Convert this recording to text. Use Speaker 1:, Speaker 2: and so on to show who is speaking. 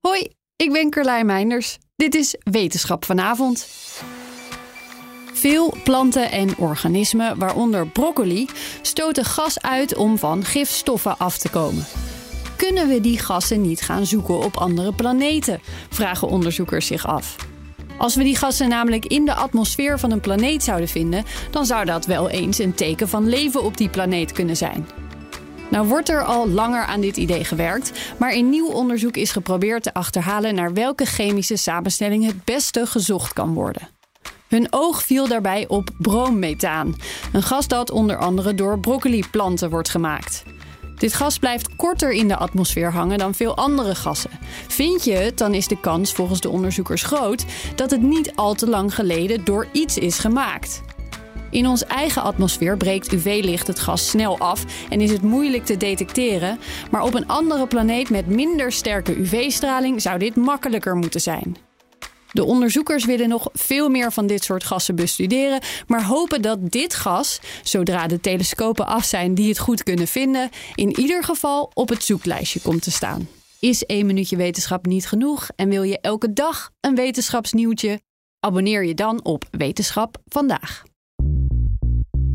Speaker 1: Hoi, ik ben Carlijn Meinders. Dit is Wetenschap vanavond. Veel planten en organismen, waaronder broccoli, stoten gas uit om van gifstoffen af te komen. Kunnen we die gassen niet gaan zoeken op andere planeten? Vragen onderzoekers zich af. Als we die gassen namelijk in de atmosfeer van een planeet zouden vinden, dan zou dat wel eens een teken van leven op die planeet kunnen zijn. Nou wordt er al langer aan dit idee gewerkt, maar in nieuw onderzoek is geprobeerd te achterhalen naar welke chemische samenstelling het beste gezocht kan worden. Hun oog viel daarbij op broommethaan, een gas dat onder andere door broccoliplanten wordt gemaakt. Dit gas blijft korter in de atmosfeer hangen dan veel andere gassen. Vind je het, dan is de kans volgens de onderzoekers groot dat het niet al te lang geleden door iets is gemaakt. In onze eigen atmosfeer breekt UV-licht het gas snel af en is het moeilijk te detecteren, maar op een andere planeet met minder sterke UV-straling zou dit makkelijker moeten zijn. De onderzoekers willen nog veel meer van dit soort gassen bestuderen, maar hopen dat dit gas, zodra de telescopen af zijn die het goed kunnen vinden, in ieder geval op het zoeklijstje komt te staan. Is één minuutje wetenschap niet genoeg en wil je elke dag een wetenschapsnieuwtje? Abonneer je dan op Wetenschap vandaag.